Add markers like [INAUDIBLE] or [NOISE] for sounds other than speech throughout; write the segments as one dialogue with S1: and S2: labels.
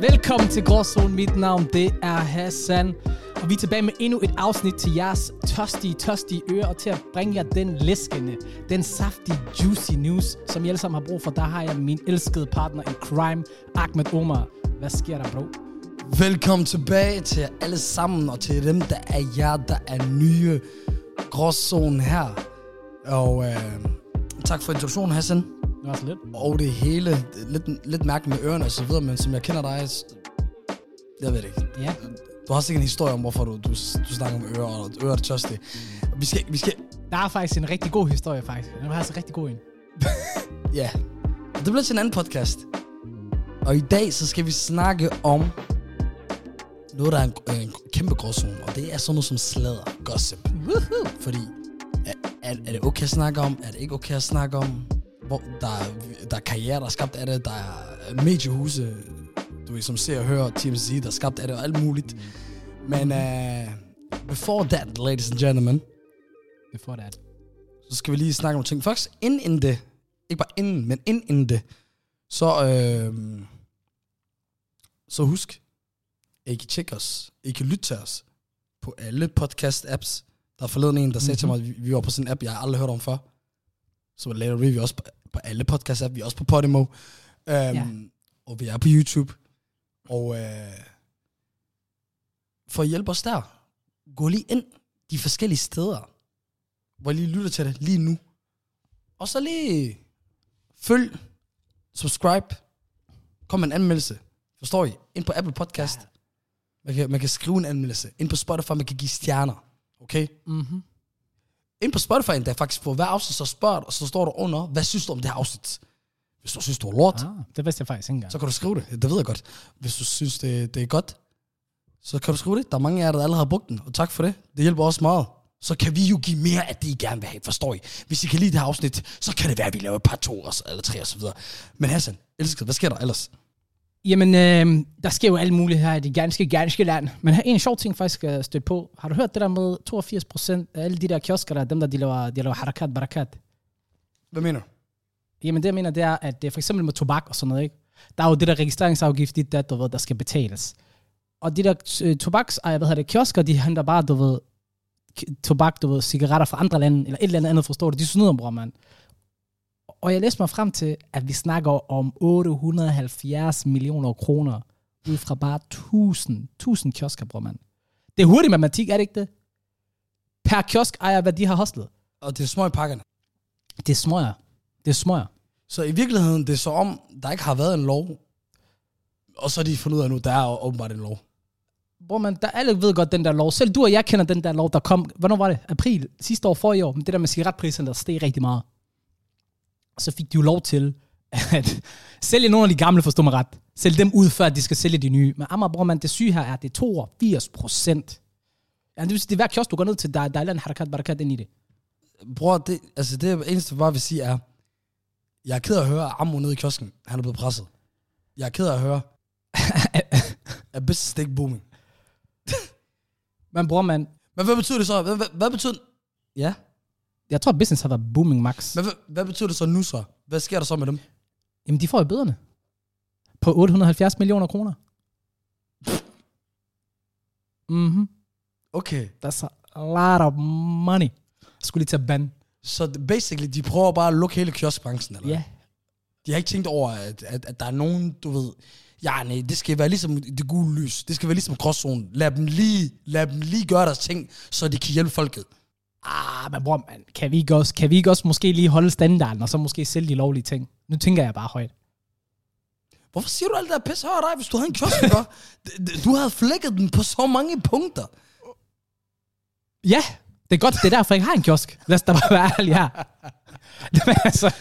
S1: Velkommen til Gråzone. Mit navn det er Hassan. Og vi er tilbage med endnu et afsnit til jeres tørstige, tørstige ører. Og til at bringe jer den læskende, den saftige, juicy news, som I alle sammen har brug for. Der har jeg min elskede partner i crime, Ahmed Omar. Hvad sker der, bro?
S2: Velkommen tilbage til jer alle sammen, og til dem, der er jer, der er nye gråzonen her. Og øh, tak for introduktionen, Hassan.
S1: Det var så lidt.
S2: Og det hele, det er lidt, lidt mærkeligt med ørerne og så videre, men som jeg kender dig, s- jeg ved det ikke.
S1: Ja.
S2: Du har sikkert en historie om, hvorfor du, du, du snakker om ører, og ører er tørstige. Vi skal, vi skal,
S1: Der er faktisk en rigtig god historie, faktisk. Den var altså rigtig god en.
S2: ja. Det bliver til en anden podcast. Og i dag, så skal vi snakke om noget, der er en, øh, en kæmpe gråzone, og det er sådan noget som sladder, gossip.
S1: Woohoo!
S2: Fordi, er, er, er det okay at snakke om? Er det ikke okay at snakke om? Hvor, der, er, der er karriere, der er skabt af det. Der er mediehuse, du ved, som ser og hører TMZ, der er skabt af det og alt muligt. Men uh, before that, ladies and gentlemen,
S1: Before that.
S2: så skal vi lige snakke om nogle ting. Først inden inden det, ikke bare inden, men inden inden det, så, øh, så husk, at I kan tjekke os, I kan lytte til os på alle podcast-apps. Der er forleden en, der sagde mm-hmm. til mig, at vi, vi var på sådan en app, jeg har aldrig hørt om før. Så later vi er også på, på alle podcast-apps, vi er også på Podimo, øhm,
S1: Ja.
S2: og vi er på YouTube. Og øh, for at hjælpe os der, gå lige ind de forskellige steder, hvor I lige lytter til det lige nu. Og så lige følg, subscribe, kom med en anmeldelse. Forstår I? Ind på Apple Podcast. Ja. Man, kan, man kan skrive en anmeldelse. Ind på Spotify, man kan give stjerner. Okay?
S1: Mhm.
S2: Ind på Spotify endda faktisk på hver afsnit, så spørger du, og så står der under, hvad synes du om det her afsnit? Hvis du synes, du er lort, ja.
S1: Ah, det vidste jeg faktisk ikke engang.
S2: så kan du skrive det. Det ved jeg godt. Hvis du synes, det, det er godt, så kan du skrive det. Der er mange af jer, der allerede har brugt den, og tak for det. Det hjælper også meget. Så kan vi jo give mere af det, I gerne vil have, forstår I? Hvis I kan lide det her afsnit, så kan det være, at vi laver et par to og så- eller tre og så videre. Men Hassan, elsker, hvad sker der ellers?
S1: Jamen, øh, der sker jo alt muligt her i det ganske, ganske land. Men her er en sjov ting faktisk at støtte på. Har du hørt det der med 82 procent af alle de der kiosker, der er dem, der de laver, de laver harakat, barakat?
S2: Hvad mener du?
S1: Jamen det, jeg mener, det er, at det for eksempel med tobak og sådan noget, ikke? der er jo det der registreringsafgift, dit der, du ved, der skal betales. Og de der øh, tobaks, ej, hvad hedder det, kiosker, de henter bare, du ved, k- tobak, du ved, cigaretter fra andre lande, eller et eller andet andet, forstår du, de snyder, bror, mand. Og jeg læste mig frem til, at vi snakker om 870 millioner kroner, ud fra bare 1000, 1000 kiosker, bror, mand. Det er hurtig matematik, er det ikke det? Per kiosk ejer, hvad de har hostlet.
S2: Og det er små i pakkerne.
S1: Det er smøger. Det er smøger.
S2: Så i virkeligheden, det er så om, der ikke har været en lov, og så er de fundet ud af nu, der er jo åbenbart en lov.
S1: Bror, man, der alle ved godt den der lov. Selv du og jeg kender den der lov, der kom, hvornår var det? April sidste år, for i år. Men det der med cigaretpriserne, der steg rigtig meget. Og så fik de jo lov til [LAUGHS] at sælge nogle af de gamle, forstår mig ret. Sælge dem ud, før de skal sælge de nye. Men Amager, bror, man, det syge her er, at det er 82 procent. Ja, det vil sige, det er hver kiosk, du går ned til, der, der er et eller andet harakat, barakat ind i det.
S2: Bror, det, altså det eneste, jeg bare vil sige er, jeg er ked af at høre, at Ammo nede i kiosken, han er blevet presset. Jeg er ked af at høre, at business det er ikke booming.
S1: Men bror, man,
S2: Men hvad betyder det så? Hvad, hvad, hvad betyder... Ja.
S1: jeg tror, business har været booming max.
S2: Men hvad, hvad betyder det så nu så? Hvad sker der så med dem?
S1: Jamen, de får jo bøderne. På 870 millioner kroner. Mhm.
S2: Okay.
S1: That's a lot of money. Jeg skulle lige tage band.
S2: Så basically, de prøver bare at lukke hele kioskbranchen, eller?
S1: Ja. Yeah.
S2: De har ikke tænkt over, at, at, at der er nogen, du ved... Ja, nej, det skal være ligesom det gule lys. Det skal være ligesom crosszone. Lad dem lige, lad dem lige gøre deres ting, så de kan hjælpe folket.
S1: Ah, men bror, man, kan, vi ikke også, kan vi ikke også måske lige holde standarden, og så måske sælge de lovlige ting? Nu tænker jeg bare højt.
S2: Hvorfor siger du alt det der pisse højere dig, hvis du havde en kiosk, [LAUGHS] ikke? D- d- Du havde flækket den på så mange punkter.
S1: Ja, det er godt, det er derfor, jeg har en kiosk. Lad os da bare være ærlig her. Jamen, altså,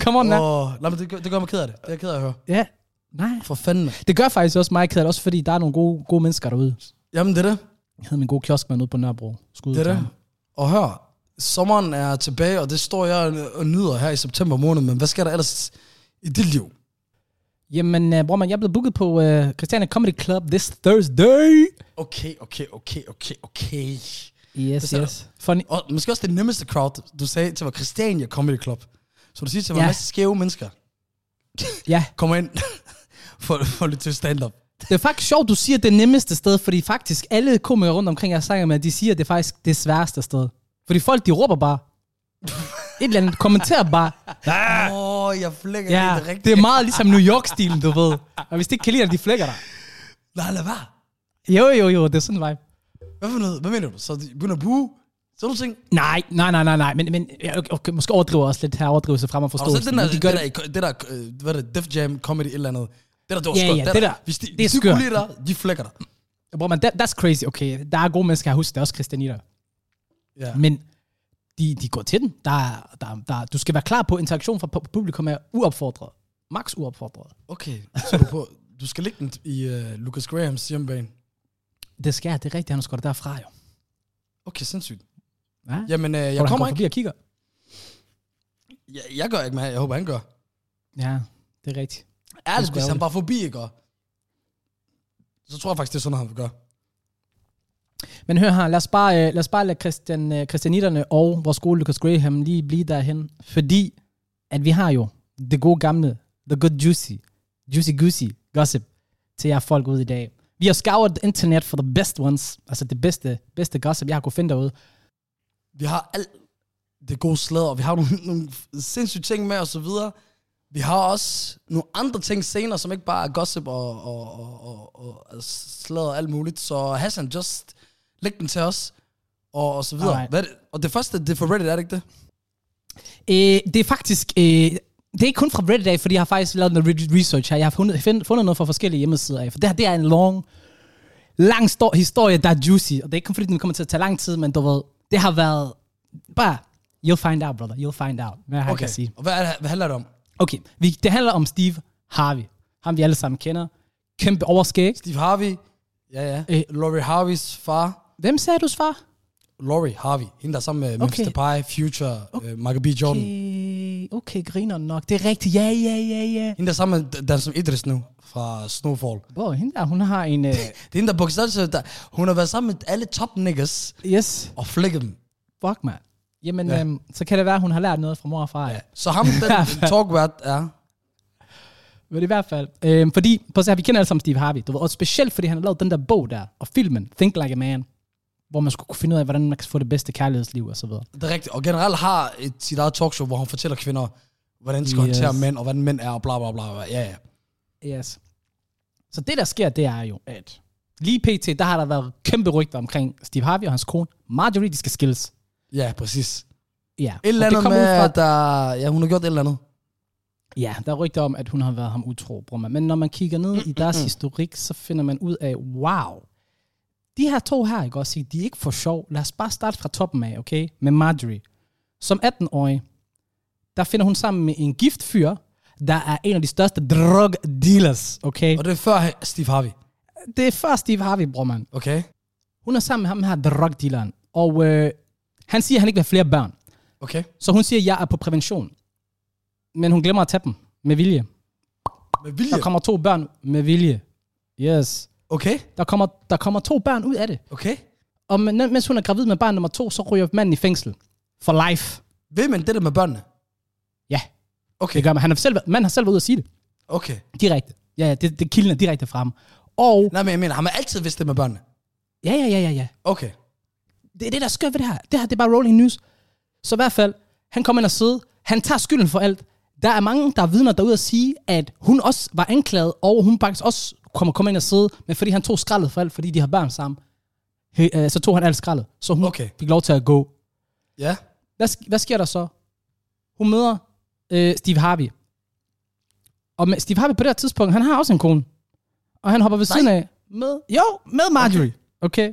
S1: come on, oh.
S2: Åh, nej, men det, gør- det gør mig ked af det. Det er jeg ked af at høre.
S1: Ja, nej.
S2: For fanden. mand.
S1: Det gør faktisk også mig ked af det, også fordi der er nogle gode, gode mennesker derude.
S2: Jamen, det er det.
S1: Jeg havde min gode kioskmand ude på Nørrebro. Skud
S2: Det er
S1: til
S2: det.
S1: ham.
S2: Og hør, sommeren er tilbage, og det står jeg og nyder her i september måned. Men hvad sker der ellers i dit liv?
S1: Jamen, uh, bror, man, jeg er blevet booket på uh, Christiania Comedy Club this Thursday.
S2: Okay, okay, okay, okay, okay.
S1: Yes,
S2: sagde
S1: yes. Funny.
S2: Og måske også det nemmeste crowd, du sagde til mig, Christiania Comedy Club. Så du siger til mig,
S1: Ja.
S2: en masse skæve mennesker
S1: Ja,
S2: [LAUGHS] kommer ind for, for at lytte til stand-up.
S1: Det er faktisk sjovt, du siger det nemmeste sted, fordi faktisk alle komikere rundt omkring, jeg snakker med, de siger, det er faktisk det sværeste sted. Fordi folk, de råber bare. Et eller andet kommenterer bare.
S2: Åh, oh, jeg flækker
S1: Ja,
S2: det rigtigt.
S1: det er meget ligesom New York-stilen, du ved. Og hvis de ikke kan lide dig, de flækker dig.
S2: Nej, lad være.
S1: Jo, jo, jo, det er sådan en vibe.
S2: Hvad for noget? Hvad mener du? Så de begynder at buge? Så er du tænkt,
S1: Nej, nej, nej, nej, nej. Men, men ja, okay, okay, måske overdriver jeg også lidt her overdrivelse frem og
S2: har du set
S1: forståelse.
S2: den der,
S1: men de gør det,
S2: det, der, det der, øh, hvad er det, Def Jam Comedy et eller andet? Det der, det var
S1: Ja,
S2: skørt.
S1: ja, det der,
S2: hvis de,
S1: det er
S2: hvis du
S1: skørt.
S2: kunne lide dig, de flækker dig.
S1: Bro, man, that, that's crazy. Okay, der er gode mennesker, jeg husker, det er også Christianita.
S2: Ja.
S1: Men de, de går til den. Der, er- der, er- der, er- du skal være klar på, at interaktion fra pu- publikum er uopfordret. Max uopfordret.
S2: Okay, så er du
S1: [LAUGHS]
S2: på. Du skal ligge den i uh, Lucas Grahams hjemmebane.
S1: Det skal jeg, det er rigtigt, han har sgu da derfra jo.
S2: Okay, sindssygt.
S1: Ja. Jeg
S2: Jamen, øh, jeg
S1: Hvor
S2: kommer
S1: han
S2: ikke.
S1: forbi og kigger.
S2: Jeg, jeg gør ikke med Jeg håber, han gør.
S1: Ja, det er rigtigt.
S2: Ærligt,
S1: Det er
S2: hvis han
S1: ærgerligt.
S2: bare forbi, ikke? og- Så tror jeg faktisk, det er sådan, han vil gøre.
S1: Men hør her, lad os bare, øh, lad os bare lade Christian, øh, Christianitterne og vores gode Lucas Graham lige blive derhen. Fordi at vi har jo det gode gamle, the good juicy, juicy goosey gossip til jer folk ude i dag. Vi har scoured internet for the best ones, altså det bedste, bedste gossip, jeg har kunne finde derude.
S2: Vi har alt det gode sladder, og vi har nogle, [LAUGHS] nogle sindssyge ting med og så videre. Vi har også nogle andre ting senere, som ikke bare er gossip og, og, og, og, og, og sladder og alt muligt. Så Hassan, just læg den til os, og, og så videre.
S1: Alright.
S2: Hvad er det? Og det første, det er for Reddit, er det ikke det?
S1: Øh, det er faktisk... Øh, det er ikke kun fra Reddit af, fordi jeg har faktisk lavet noget re- research her. Jeg har fundet, find, fundet noget fra forskellige hjemmesider af. For det her, det er en long, lang stor historie, der er juicy. Og det er ikke kun fordi, den kommer til at tage lang tid, men du ved, det har været bare... You'll find out, brother. You'll find out. Hvad okay. jeg kan sige.
S2: Og hvad, er det, hvad handler det om?
S1: Okay, vi, det handler om Steve Harvey. Ham vi alle sammen kender. Kæmpe overskæg.
S2: Steve Harvey, ja ja,
S1: Øh.
S2: øh. Laurie Harveys far,
S1: Hvem sagde du, svar?
S2: Laurie Harvey, hende der er sammen med
S1: Okay.
S2: okay. Memphis Depay, Future, okay. øh, Michael B. Jordan. Okay.
S1: Okay, Øh, okay griner nok. Det er rigtigt. Ja, ja, ja, ja.
S2: Hende der er sammen med Dan som Idris nu, fra Snowfall.
S1: Hvor hende der, hun har en... Uh,
S2: Det er hende, der bogstaveligt der. Hun har været sammen med alle top niggas
S1: [LAUGHS] yes.
S2: og flækket dem.
S1: Fuck, mand. Jamen, ja.
S2: Ja.
S1: øhm, så kan det være, at hun har lært noget fra mor og far. Ja.
S2: Så ham,
S1: [LAUGHS]
S2: den talkvært er...
S1: Men i hvert fald. Øhm, fordi, på så vi kender alle sammen Steve Harvey. Du ved, og specielt fordi han har lavet den der bog der, og filmen, Think Like a Man, hvor man skulle kunne finde ud af, hvordan man kan få det bedste kærlighedsliv og så videre.
S2: Det er rigtigt. Og generelt har et, sit eget talkshow, hvor hun fortæller kvinder, hvordan de skal
S1: Yes.
S2: yes. håndtere mænd, og hvordan mænd er, og bla bla bla. bla. Ja, ja.
S1: Yes. Så det, der sker, det er jo, at lige pt, der har der været kæmpe rygter omkring Steve Harvey og hans kone. Marjorie, de skal skilles.
S2: Ja, præcis.
S1: Ja.
S2: Et eller
S1: og det
S2: andet
S1: kommer
S2: med,
S1: ud fra,
S2: at der, ja, hun har gjort et eller andet.
S1: Ja, der er rygter om, at hun har været ham utro, bror mand. Men når man kigger ned i deres historik, så finder man ud af, wow, de her to her, ikke også, de er ikke for sjov. Lad os bare starte fra toppen af, okay? Med Marjorie. Som 18-årig, der finder hun sammen med en gift fyr, der er en af de største drug dealers, okay?
S2: Og det er før Steve Harvey.
S1: Det er først Steve Harvey, bror mand.
S2: Okay?
S1: Hun er sammen med ham her drug dealeren, og øh, han siger, at han ikke vil have flere børn.
S2: Okay.
S1: Så hun siger, at jeg er på prævention. Men hun glemmer at tage dem med vilje.
S2: Med vilje.
S1: Der kommer to børn med vilje. Yes.
S2: Okay,
S1: Der kommer, der kommer to børn ud af det.
S2: okay.
S1: Og men- mens hun er gravid med barn nummer to, så ryger manden i fængsel. For life.
S2: Ved man det der med børnene?
S1: Ja,
S2: Okay,
S1: det gør man. Han har selv, været- manden har selv været ude at sige det.
S2: okay.
S1: Direkte. Ja, ja, det, det kilden er direkte frem. Og
S2: Nej, men jeg mener, har man altid vidst det med børnene?
S1: ja, ja, ja, ja, ja.
S2: Okay.
S1: Det er det, der sker ved det her. Det her, det er bare rolling news. Så i hvert fald, han kommer ind og sidder. Han tager skylden for alt. Der er mange, der er vidner derude at sige, at hun også var anklaget, og hun faktisk også kommer komme ind og sidde, men fordi han tog skraldet for alt, fordi de har børn sammen, he, øh, så tog han alt skraldet. Så hun okay.
S2: Okay.
S1: fik lov til at gå.
S2: Ja.
S1: Hvad, sk- hvad sker der så? Hun møder øh, Steve Harvey. Og med Steve Harvey på det her tidspunkt, han har også en kone. Og han hopper ved siden af med, jo, med Marjorie. Okay. okay.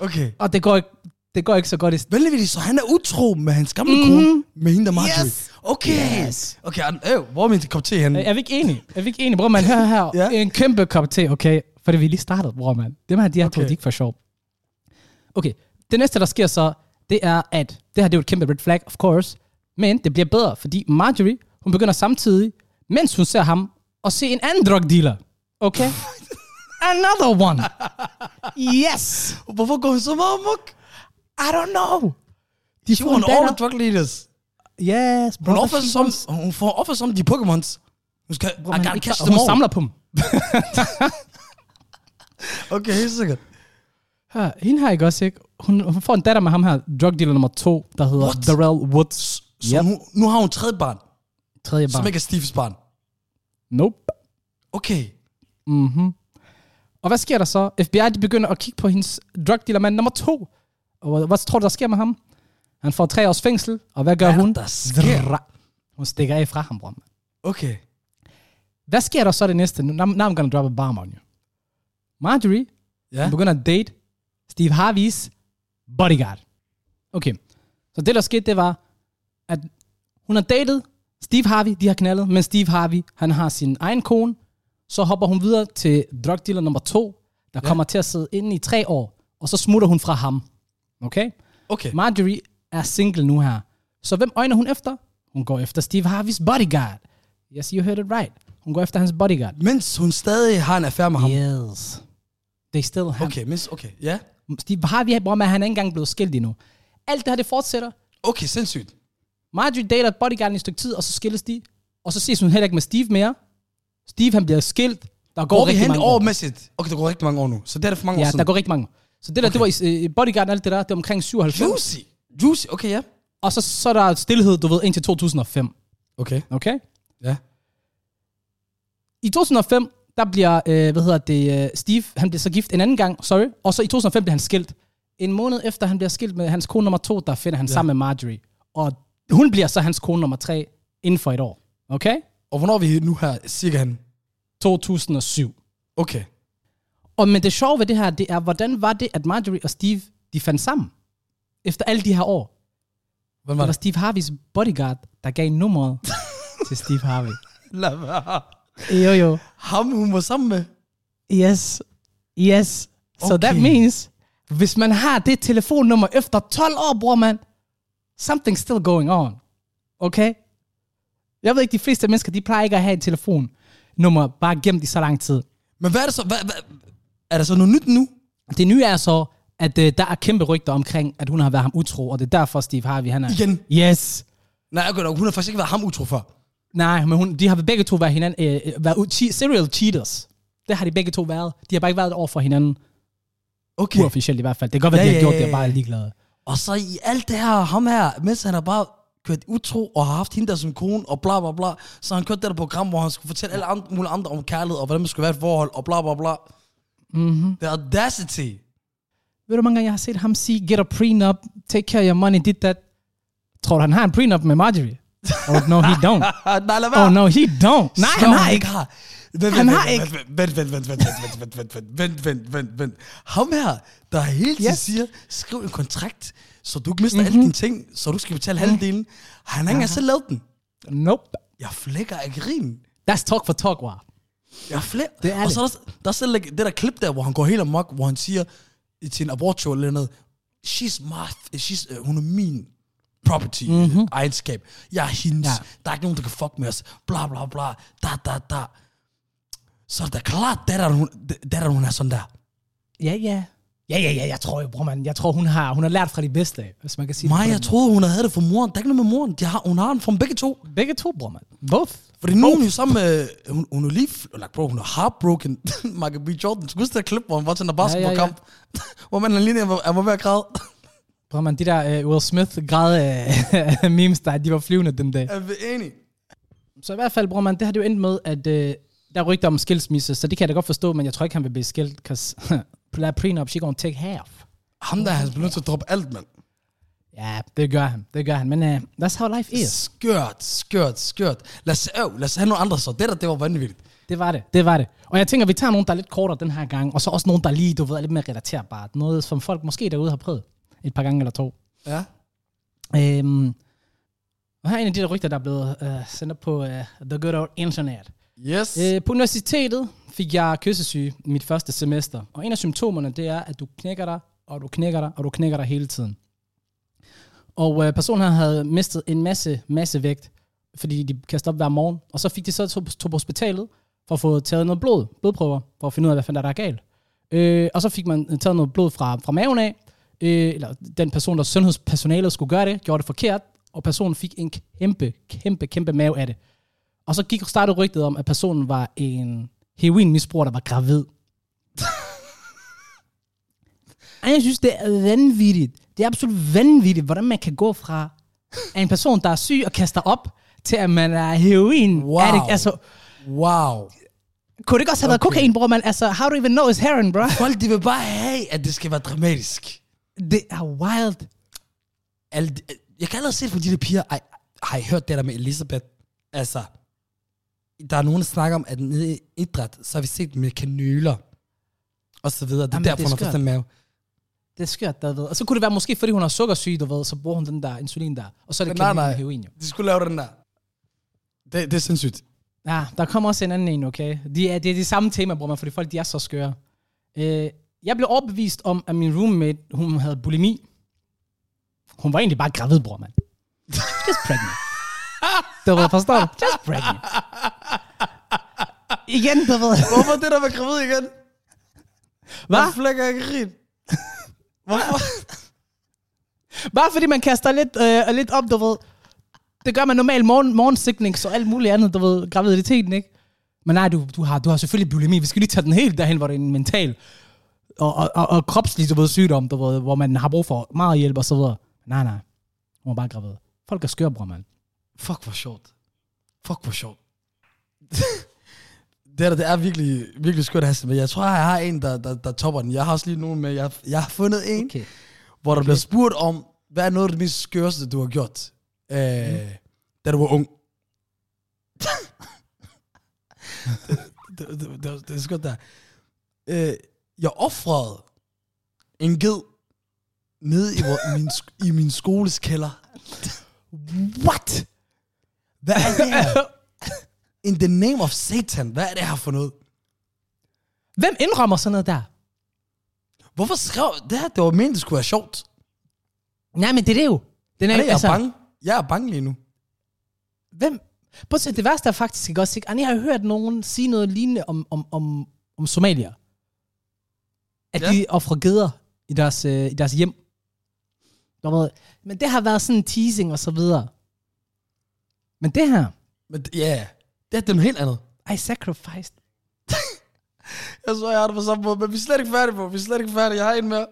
S2: Okay.
S1: Og det går, ikke, det går ikke så godt i
S2: Vældigvis, så han er utro med hans gamle
S1: Mhm.
S2: mm-hmm. kone, med hende der Marjorie.
S1: Yes.
S2: Okay.
S1: Yes.
S2: Okay, and, øh, hvor er min kop te henne?
S1: Øh, Er vi ikke enige? Er vi ikke enige? Bror, man, hør her.
S2: Ja.
S1: En kæmpe kop te, okay? Fordi vi lige startede, bror, man. Dem her, de her okay. to, de
S2: Okay.
S1: er ikke for sjov. Okay, det næste, der sker så, det er, at det her, det er jo et kæmpe red flag, of course. Men det bliver bedre, fordi Marjorie, hun begynder samtidig, mens hun ser ham, at se en anden drug dealer.
S2: [LAUGHS]
S1: Okay? Another one. Yes.
S2: Hvorfor går hun så meget amok?
S1: I don't know. De
S2: She
S1: får en
S2: won all
S1: datter.
S2: the drug leaders.
S1: Yes, bro.
S2: Hun, offer som, hun får offer som de Pokémons. Ah, Hun skal,
S1: Bro,
S2: I
S1: man,
S2: gotta
S1: ikke-
S2: catch
S1: og
S2: them
S1: hun
S2: all.
S1: samler på dem.
S2: Okay, helt sikkert.
S1: Her, hende her, ikke også, ikke? Hun, hun får en datter med ham her, drug dealer nummer to, der hedder
S2: What?
S1: Darrell Woods.
S2: Så
S1: Yep.
S2: nu, nu har hun et tredje barn, barn,
S1: Tredje
S2: som
S1: barn.
S2: ikke er Steves barn.
S1: Nope.
S2: Okay.
S1: Mm-hmm. Og hvad sker der så? FBI de begynder at kigge på hendes drug dealer mand nummer to. Og hvad- hvad tror du, der sker med ham? Han får tre års fængsel, og hvad gør
S2: Hvad er
S1: hun?
S2: der sker?
S1: Zrrra. Hun stikker af fra ham, bror. mand.
S2: Okay.
S1: Hvad sker der så det næste? Now, now I'm gonna drop a bomb on you. Marjorie
S2: Ja.
S1: ja. begynder at date Steve Harveys bodyguard. Okay, så det der skete, det var, at hun har datet Steve Harvey, de har knaldet, men Steve Harvey, han har sin egen kone, så hopper hun videre til drug dealer nummer to, der
S2: Ja.
S1: ja. kommer til at sidde inde i tre år, og så smutter hun fra ham. Okay?
S2: Okay.
S1: Marjorie er single nu her. Så hvem øjner hun efter? Hun går efter Steve Harveys bodyguard. Yes, you heard it right. Hun går efter hans bodyguard.
S2: Mens hun stadig har en affære med ham.
S1: Yes. They still have
S2: Okay, mens, okay. Ja.
S1: Steve Harvey, bror, man, han er ikke engang blevet skilt endnu. Alt det her, det fortsætter.
S2: Okay, sindssygt.
S1: Marjorie dater bodyguarden i et stykke tid, og så skilles de. Og så ses hun heller ikke med Steve mere. Steve, han bliver skilt. Der går
S2: Hvor er vi
S1: rigtig
S2: hen
S1: mange år.
S2: overmæssigt? Okay, der går rigtig mange år nu. Så det er der for mange år
S1: Ja,
S2: siden.
S1: der går rigtig mange år. Så det der, okay. det var i øh, bodyguarden og alt det der, det var omkring 97.
S2: Juicy. Juicy, okay, ja.
S1: Og så, så er der stillhed, du ved, indtil 2005.
S2: Okay,
S1: Okay?
S2: ja.
S1: I 2005, der bliver, øh, hvad hedder det, øh, Steve, han bliver så gift en anden gang, sorry. Og så i 2005 bliver han skilt. En måned efter han bliver skilt med hans kone nummer to, der finder han ja. sammen med Marjorie. Og hun bliver så hans kone nummer tre inden for et år. Okay?
S2: Og hvornår er vi nu her, cirka han?
S1: 2007.
S2: Okay.
S1: Og men det sjove ved det her, det er, hvordan var det, at Marjorie og Steve, de fandt sammen? Efter alle de her år.
S2: Hvordan
S1: Det var Steve Harveys bodyguard, der gav [LAUGHS] nummeret til Steve Harvey.
S2: [LAUGHS] Lad være.
S1: Jo, jo.
S2: Ham, hun var sammen med.
S1: Yes. Yes. Okay. So that
S2: Okay.
S1: means, hvis man har det telefonnummer efter 12 år, bror mand, something's still going on. Okay? Jeg ved ikke, de fleste mennesker, de plejer ikke at have et telefonnummer bare gemt i så lang tid.
S2: Men hvad er det så? Hvad, hvad, er der så noget nyt nu?
S1: Det nye er så, at øh, der er kæmpe rygter omkring, at hun har været ham utro, og det er derfor Steve Harvey, han er...
S2: Igen?
S1: Yes.
S2: Nej, okay, dog, hun har faktisk ikke været ham utro før.
S1: Nej, men hun, de har begge to været, hinanden, øh, øh, været u- che- serial cheaters. Det har de begge to været. De har bare ikke været over for hinanden,
S2: Okay.
S1: uofficielt i hvert fald. Det kan godt være,
S2: Ja,
S1: de har
S2: ja,
S1: gjort
S2: ja,
S1: det og bare er
S2: ja.
S1: ligeglade.
S2: Og så i alt det her, ham her, mens han har bare kørt utro og har haft hende der som kone og bla bla bla, så har han kørt det der program, hvor han skulle fortælle alle andre, mulige andre om kærlighed og hvordan man skulle være i et forhold og bla bla bla. Mm-hmm. The audacity.
S1: Ved du, hvor mange gange jeg har set ham sige, get a prenup, take care of your money, dit that. Tror du, han har en prenup med [LAUGHS] Marjorie? Oh, no, he don't.
S2: [LAUGHS] Nej, lad
S1: Oh, no, he don't. Nej, han har ikke.
S2: Har. Vent,
S1: Han
S2: vent,
S1: har
S2: vent, Vent, vent, vent, vent, vent, vent, vent, vent, vent, vent, vent, vent. Ham her, der hele tiden
S1: Yes.
S2: siger, skriv en kontrakt, så du ikke mister mm-hmm.
S1: Mhm.
S2: alle dine ting, så du skal betale halvdelen. Han har ikke engang selv lavet den.
S1: Nope.
S2: Jeg flækker af grin.
S1: That's talk for talk, wow.
S2: Ja, flere.
S1: Det er
S2: og så er der, der er selv det der klip der, hvor han går helt amok, hvor han siger til en abortshow eller noget, she's my, she's, uh, hun er min property, mm-hmm. egenskab. Jeg er hendes.
S1: Mhm. Ja.
S2: Ja. Der er ikke nogen, der kan fuck med os. Bla, bla, bla. Da, da, da. Så er det da klart, datteren, hun, datteren, hun er sådan der.
S1: Ja, ja. Ja, ja, ja, jeg tror jo, bror, man. Jeg tror, hun har, hun har lært fra de bedste, hvis man kan sige
S2: Maja,
S1: det. på
S2: jeg troede, hun havde det fra moren. Der er ikke noget med moren. De har, hun har den fra dem begge to.
S1: den- Begge to, bror, man. Both.
S2: Fordi nu er hun jo sammen med... øh, Hun, hun er lige... f- Like, bro, hun er heartbroken. [LAUGHS] Michael B. Jordan. Du kan huske det der klip, hvor han var til en basketballkamp. [LAUGHS] Ja, ja, ja. hvor man lige var, han var ved at græde.
S1: Bror, man, de der uh, Will Smith græd uh, [LAUGHS] memes, der de var flyvende den dag.
S2: Er vi enige?
S1: Så i hvert fald, bror, man, det har det jo endt med, at øh, der er rygter om skilsmisse, så det kan jeg da godt forstå, men jeg tror ikke, han vil blive skilt, because [LAUGHS] that prenup, she gonna take half.
S2: Ham der, han bliver nødt til at droppe alt, mand.
S1: Ja, det gør han, det gør han, men uh, that's how life is.
S2: Skørt, skørt, skørt. Lad os, øh, lad os have nogle andre så. Det der, det var vanvittigt.
S1: Det var det, det var det. Og jeg tænker, vi tager nogen, der er lidt kortere den her gang, og så også nogen, der lige, du ved, er lidt mere relaterbart. Noget, som folk måske derude har prøvet et par gange eller to.
S2: Ja.
S1: Øhm, og her er en af de der rygter, der er blevet øh, sendt op på øh, The Good Old Internet.
S2: Yes. Øh.
S1: Øh, på universitetet fik jeg kyssesyge i mit første semester, og en af symptomerne, det er, at du knækker dig, og du knækker dig, og du knækker dig hele tiden. Og øh, personen her havde mistet en masse, masse vægt, fordi de kastede op hver morgen, og så fik de så tog, tog på hospitalet for at få taget noget blod, blodprøver, for at finde ud af, hvad fanden der er galt. Øh, og så fik man taget noget blod fra, fra maven af, øh, eller den person, der sundhedspersonalet skulle gøre det, gjorde det forkert, og personen fik en kæmpe, kæmpe, kæmpe mave af det. Og så gik [LAUGHS] startede rygtet om, at personen var en heroinmisbruger, der var gravid. Og jeg synes, det er vanvittigt. Det er absolut vanvittigt, hvordan man kan gå fra at en person, der er syg og kaster op, til at man er heroin.
S2: Wow.
S1: Addict. Altså,
S2: Wow.
S1: kunne det ikke også have været
S2: Okay.
S1: kokain, bror, man? Altså, how do you even know it's heroin, bro?
S2: Folk, de vil bare have, at det skal være dramatisk.
S1: Det er wild.
S2: Alle, de- jeg kan allerede se det på de der piger. Ej, har I hørt det der med Elisabeth? Altså, der er nogen, der snakker om, at nede i idræt, så har vi set dem med kanyler. Og så videre. Det er
S1: Jamen,
S2: Jamen,
S1: det er
S2: derfor, hun har fået
S1: skørt.
S2: sådan en mave.
S1: Det er skørt, der ved. Og så kunne det være måske, fordi hun har sukkersyge, du ved, så bruger hun den der insulin der. Og så er det
S2: Nej,
S1: kanyl med
S2: nej.
S1: heroin, jo.
S2: De skulle lave den der. Det, det er sindssygt.
S1: Ja, der kommer også en anden en, okay? De er, det er de samme tema, bror man, fordi folk de er så skøre. Øh, jeg blev overbevist om, at min roommate, hun havde bulimi. Hun var egentlig bare gravid, bror man. Just
S2: [LAUGHS]
S1: pregnant. Du ved, forstår du? Just pregnant. Igen, du ved.
S2: Hvorfor det der med gravid igen?
S1: Hvad?
S2: flækker jeg grin? Hvorfor?
S1: Bare fordi man kaster lidt, øh, lidt op, du ved. Det gør man normalt morgen, morgensiknings og alt muligt andet, du ved, graviditeten, ikke? Men nej, du, du, har, du har selvfølgelig bulimi. Vi skal lige tage den helt derhen, hvor det er en mental og, og, og, og kropslig, du ved, sygdom, du ved, hvor man har brug for meget hjælp og så videre. Nej, nej. Hun var bare gravid. Folk er skøre, bror, mand.
S2: Fuck, hvor sjovt. Fuck, hvor sjovt. det, der, det er virkelig, virkelig skørt at have sådan med. Jeg tror, jeg har en, der, der, der topper den. Jeg har også lige nogen med. Jeg, jeg har fundet en, okay. hvor der okay. bliver spurgt om, hvad er noget af det mest skørste, du har gjort, øh, mm. da du var ung? det, det, det, det, det er skørt der. Øh, jeg offrede en ged nede i, vor- min, sk- i min skoles kælder.
S1: What?
S2: Hvad er det her? In the name of Satan, hvad er det her for noget?
S1: [LAUGHS] Hvem indrømmer sådan noget der?
S2: Hvorfor skrev det her? Det var meningen, det skulle være sjovt.
S1: Nej, men det er det jo. Den
S2: Er
S1: er, altså-
S2: det, jeg er bange. Jeg er bange lige nu.
S1: Hvem? Prøv at se, det værste er faktisk ikke også, ikke? Ej, Jeg har hørt nogen sige noget lignende om, om, om, om somalier. At
S2: Ja.
S1: ja. de offrer geder i deres, øh, i deres hjem. Du ved, Men det har været sådan en teasing og så videre. Men det her,
S2: Men d- ja, yeah. det er noget helt andet.
S1: I sacrificed.
S2: Jeg så, jeg har det på samme måde, men vi er slet ikke færdige på. Vi er slet ikke færdige. Jeg har en mere.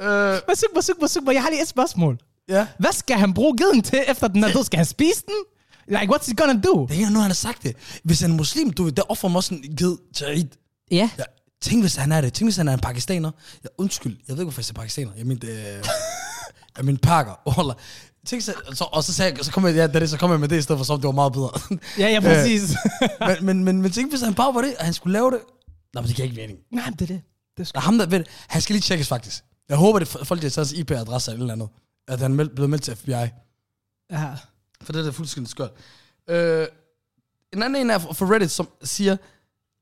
S2: Øh,
S1: Masuk, masuk, masuk, jeg har lige et spørgsmål.
S2: ja.
S1: Hvad skal han bruge geden til, efter den er død? Skal han spise den? Like, what's he gonna do?
S2: Det er ikke nu, han har sagt det. Hvis han er muslim, du ved, der offer man også en ged til Eid.
S1: Ja,
S2: Ja. Tænk, hvis han er det. Tænk, hvis han er en pakistaner. Ja, undskyld, jeg ved ikke, hvorfor jeg siger pakistaner. Jeg mente, øh, [LAUGHS] jeg mente pakker. Wallah. Tænk, så, så, og så, sagde jeg, så, kom jeg, ja, det er det, så kom jeg med det i stedet for, som det var meget bedre.
S1: ja, ja præcis.
S2: men, men, men, men tænk, hvis han bare var det, og han skulle lave det. Nej, men det giver ikke mening.
S1: Nej, men det er det. det er
S2: Der er ham, der ved det. Han skal lige tjekkes, faktisk. Jeg håber, det er folk, der har taget hans IP-adresse eller et eller andet. At han er meld- blevet meldt til FBI.
S1: sgu- ja.
S2: For det er da fuldstændig skørt. Øh, en anden en er fra- fra Reddit, som siger,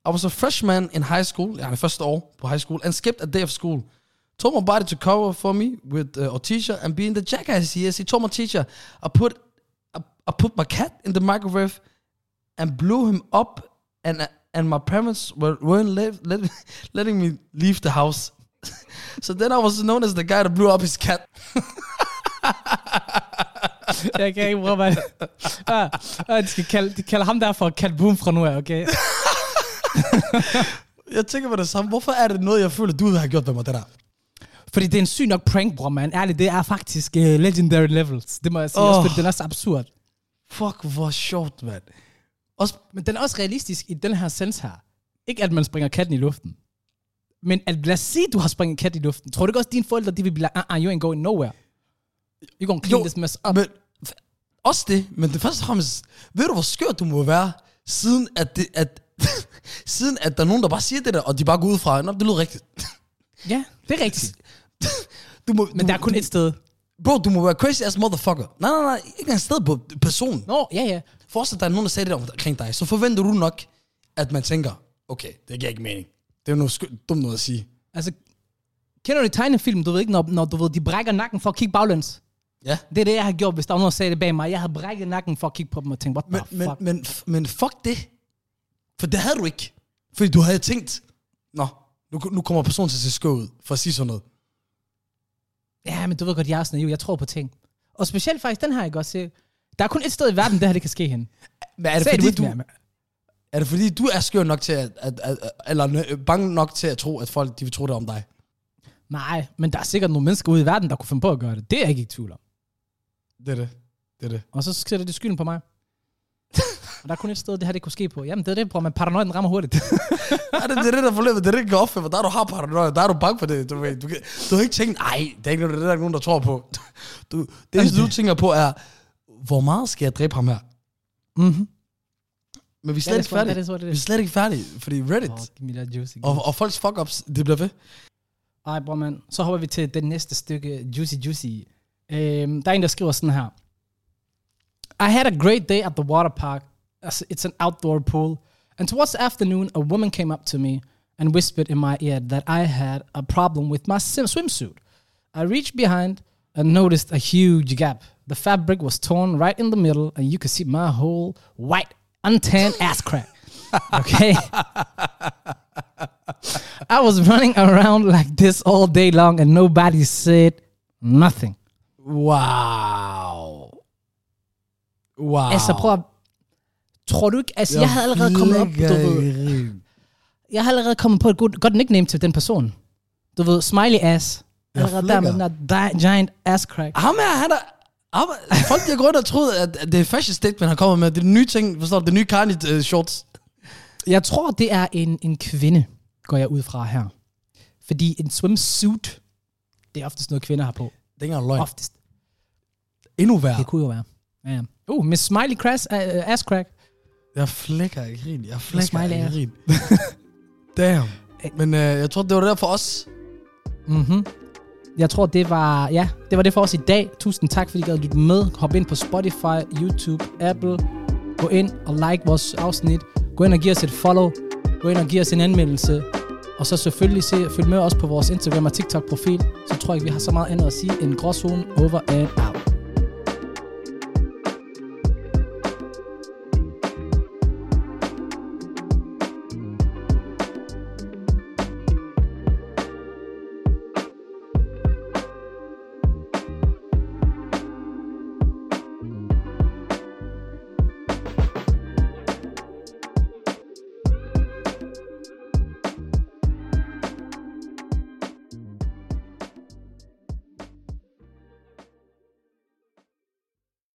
S2: I was a freshman in high school, ja, det første år på high school, and skipped a day of school. Told my body to cover for me with uh, our teacher, and being the jackass he is, he told my teacher, I put, I, I put my cat in the microwave and blew him up, and uh, and my parents were, weren't lev- let, [LAUGHS] letting me leave the house. [LAUGHS] so then I was known as the guy that blew up his cat.
S1: Jeg kan ikke bruge mig. Ah, ah, de, skal kalde, de kalder ham der for Cat Boom fra nu af, okay?
S2: Jeg tænker på det samme. Hvorfor er det noget, jeg føler, du har gjort ved mig, det der?
S1: Fordi det er en syg nok prank, bror, man. Ærligt, det er faktisk uh, legendary levels. Det må jeg sige. Oh. Også,
S2: Åh.
S1: fordi den er så absurd.
S2: Fuck, hvor sjovt, mand.
S1: Også, men den er også realistisk i den her sens her. Ikke at man springer katten i luften. Men at, lad os sige, du har springet katten i luften. Tror du ikke også, at dine forældre de vil blive like, ah, uh, you ain't going nowhere. You gonna clean
S2: Jo,
S1: this mess up.
S2: Men, f- også det, men det første og fremmest, ved du, hvor skørt du må være, siden at, det, at, [LAUGHS] siden at der er nogen, der bare siger det der, og de bare går ud fra, at det lyder rigtigt.
S1: Ja, det er rigtigt.
S2: Du må,
S1: Men
S2: du,
S1: der er kun
S2: du,
S1: et sted.
S2: Bro, du må være crazy as motherfucker. Nej, nej, nej, ikke engang sted på personen.
S1: Nå, ja, ja.
S2: Forestil dig, at der er nogen, der sagde det om- omkring dig, så forventer du nok, at man tænker, okay, det giver ikke mening. Det er jo noget skø- dumt noget at sige.
S1: Altså, kender du tegnefilm, du ved ikke, når, når du ved, de brækker nakken for at kigge baglæns?
S2: Ja.
S1: Det er det, jeg har gjort, hvis der var nogen, der sagde det bag mig. Jeg havde brækket nakken for at kigge på dem og tænke, what
S2: Men,
S1: the
S2: men,
S1: Ah, fuck?
S2: men, f- men fuck det. For det havde du ikke. Fordi du havde tænkt, nå, nu, nu kommer personen til at se skør ud, for at sige sådan noget.
S1: Ja, men du ved godt, jeg er sådan naiv. Jeg tror på ting. Og specielt faktisk den her, ikke også? øh, Der er kun et sted i verden, det her det kan ske hen.
S2: Men er det,
S1: Say it
S2: fordi,
S1: with
S2: du,
S1: me, Ahmed.
S2: er det fordi, du er skør nok til, at, at, at, eller nø- bange nok til at tro, at folk de vil tro det om dig?
S1: Nej, men der er sikkert nogle mennesker ude i verden, der kunne finde på at gøre det. Det er jeg ikke i tvivl om.
S2: Det er det. Det er det.
S1: Og så sætter de skylden på mig. og der er kun et sted, det her det kunne ske på. Jamen, det er det, bror. Men paranoiden rammer hurtigt.
S2: Ja, det, det [LAUGHS] er det, der er problemet. Det er det, der går op for. Der er du har paranoia. Der er du bange for det. Du, ved, du, kan, du har ikke tænkt, nej, det er ikke noget, det er der ikke nogen, der tror på. [LAUGHS] Du, det eneste, du tænker på er, hvor meget skal jeg dræbe ham her?
S1: mm-hmm.
S2: Men vi er
S1: Ja, det er
S2: Mhm. slet ikke
S1: sgu- ja,
S2: færdige.
S1: det er sgu- det er
S2: Vi er slet ikke færdige, fordi Reddit
S1: Åh, give mig lidt juicy.
S2: og, og folks fuck-ups, det bliver ved.
S1: Ej, bror mand. Så hopper vi til det næste stykke Juicy Juicy. Øhm, der er en, der skriver sådan her. I had a great day at the water park. As- It's an outdoor pool. And towards the afternoon, a woman came up to me and whispered in my ear that I had a problem with my sim- swimsuit. I reached behind and noticed a huge gap. The fabric was torn right in the middle, and you could see my whole white, untanned ass crack. Okay. I was running around like this all day long and nobody said nothing.
S2: Wow. Wow.
S1: Oh. Altså prøv at... Tror du ikke... Altså, jeg, jeg havde allerede kommet op, du ved, Jeg havde allerede kommet på et godt, godt nickname til den person. Du ved, smiley ass.
S2: Jeg
S1: Allerede der med den
S2: flækker.
S1: der di- giant ass crack.
S2: Ham her, han er... Ham, folk der går rundt og troede, at, at det er fashion statement, han kommer med. Det er den nye ting, forstår du? Det er nye Kanye uh, shorts.
S1: Jeg tror, det er en, en kvinde, går jeg ud fra her. Fordi en swimsuit, det er oftest noget, kvinder har på.
S2: Det er ikke engang løgn. Oh.
S1: Oftest.
S2: Endnu værre.
S1: Det kunne jo være. Ja, ja. Uh, med smiley crash, uh, ass crack.
S2: Jeg flækker af grin. Jeg flækker
S1: smiley
S2: af
S1: ass.
S2: grin. Damn. Men øh, jeg tror, det var det der for os.
S1: Mhm. Jeg tror, det var, ja, det var det for os i dag. Tusind tak, fordi I gad at lytte med. Hop ind på Spotify, YouTube, Apple. Gå ind og like vores afsnit. Gå ind og giv os et follow. Gå ind og giv os en anmeldelse. Og så selvfølgelig se, følg med os på vores Instagram og TikTok-profil. Så tror jeg, ikke, vi har så meget andet at sige end gråzone over and out.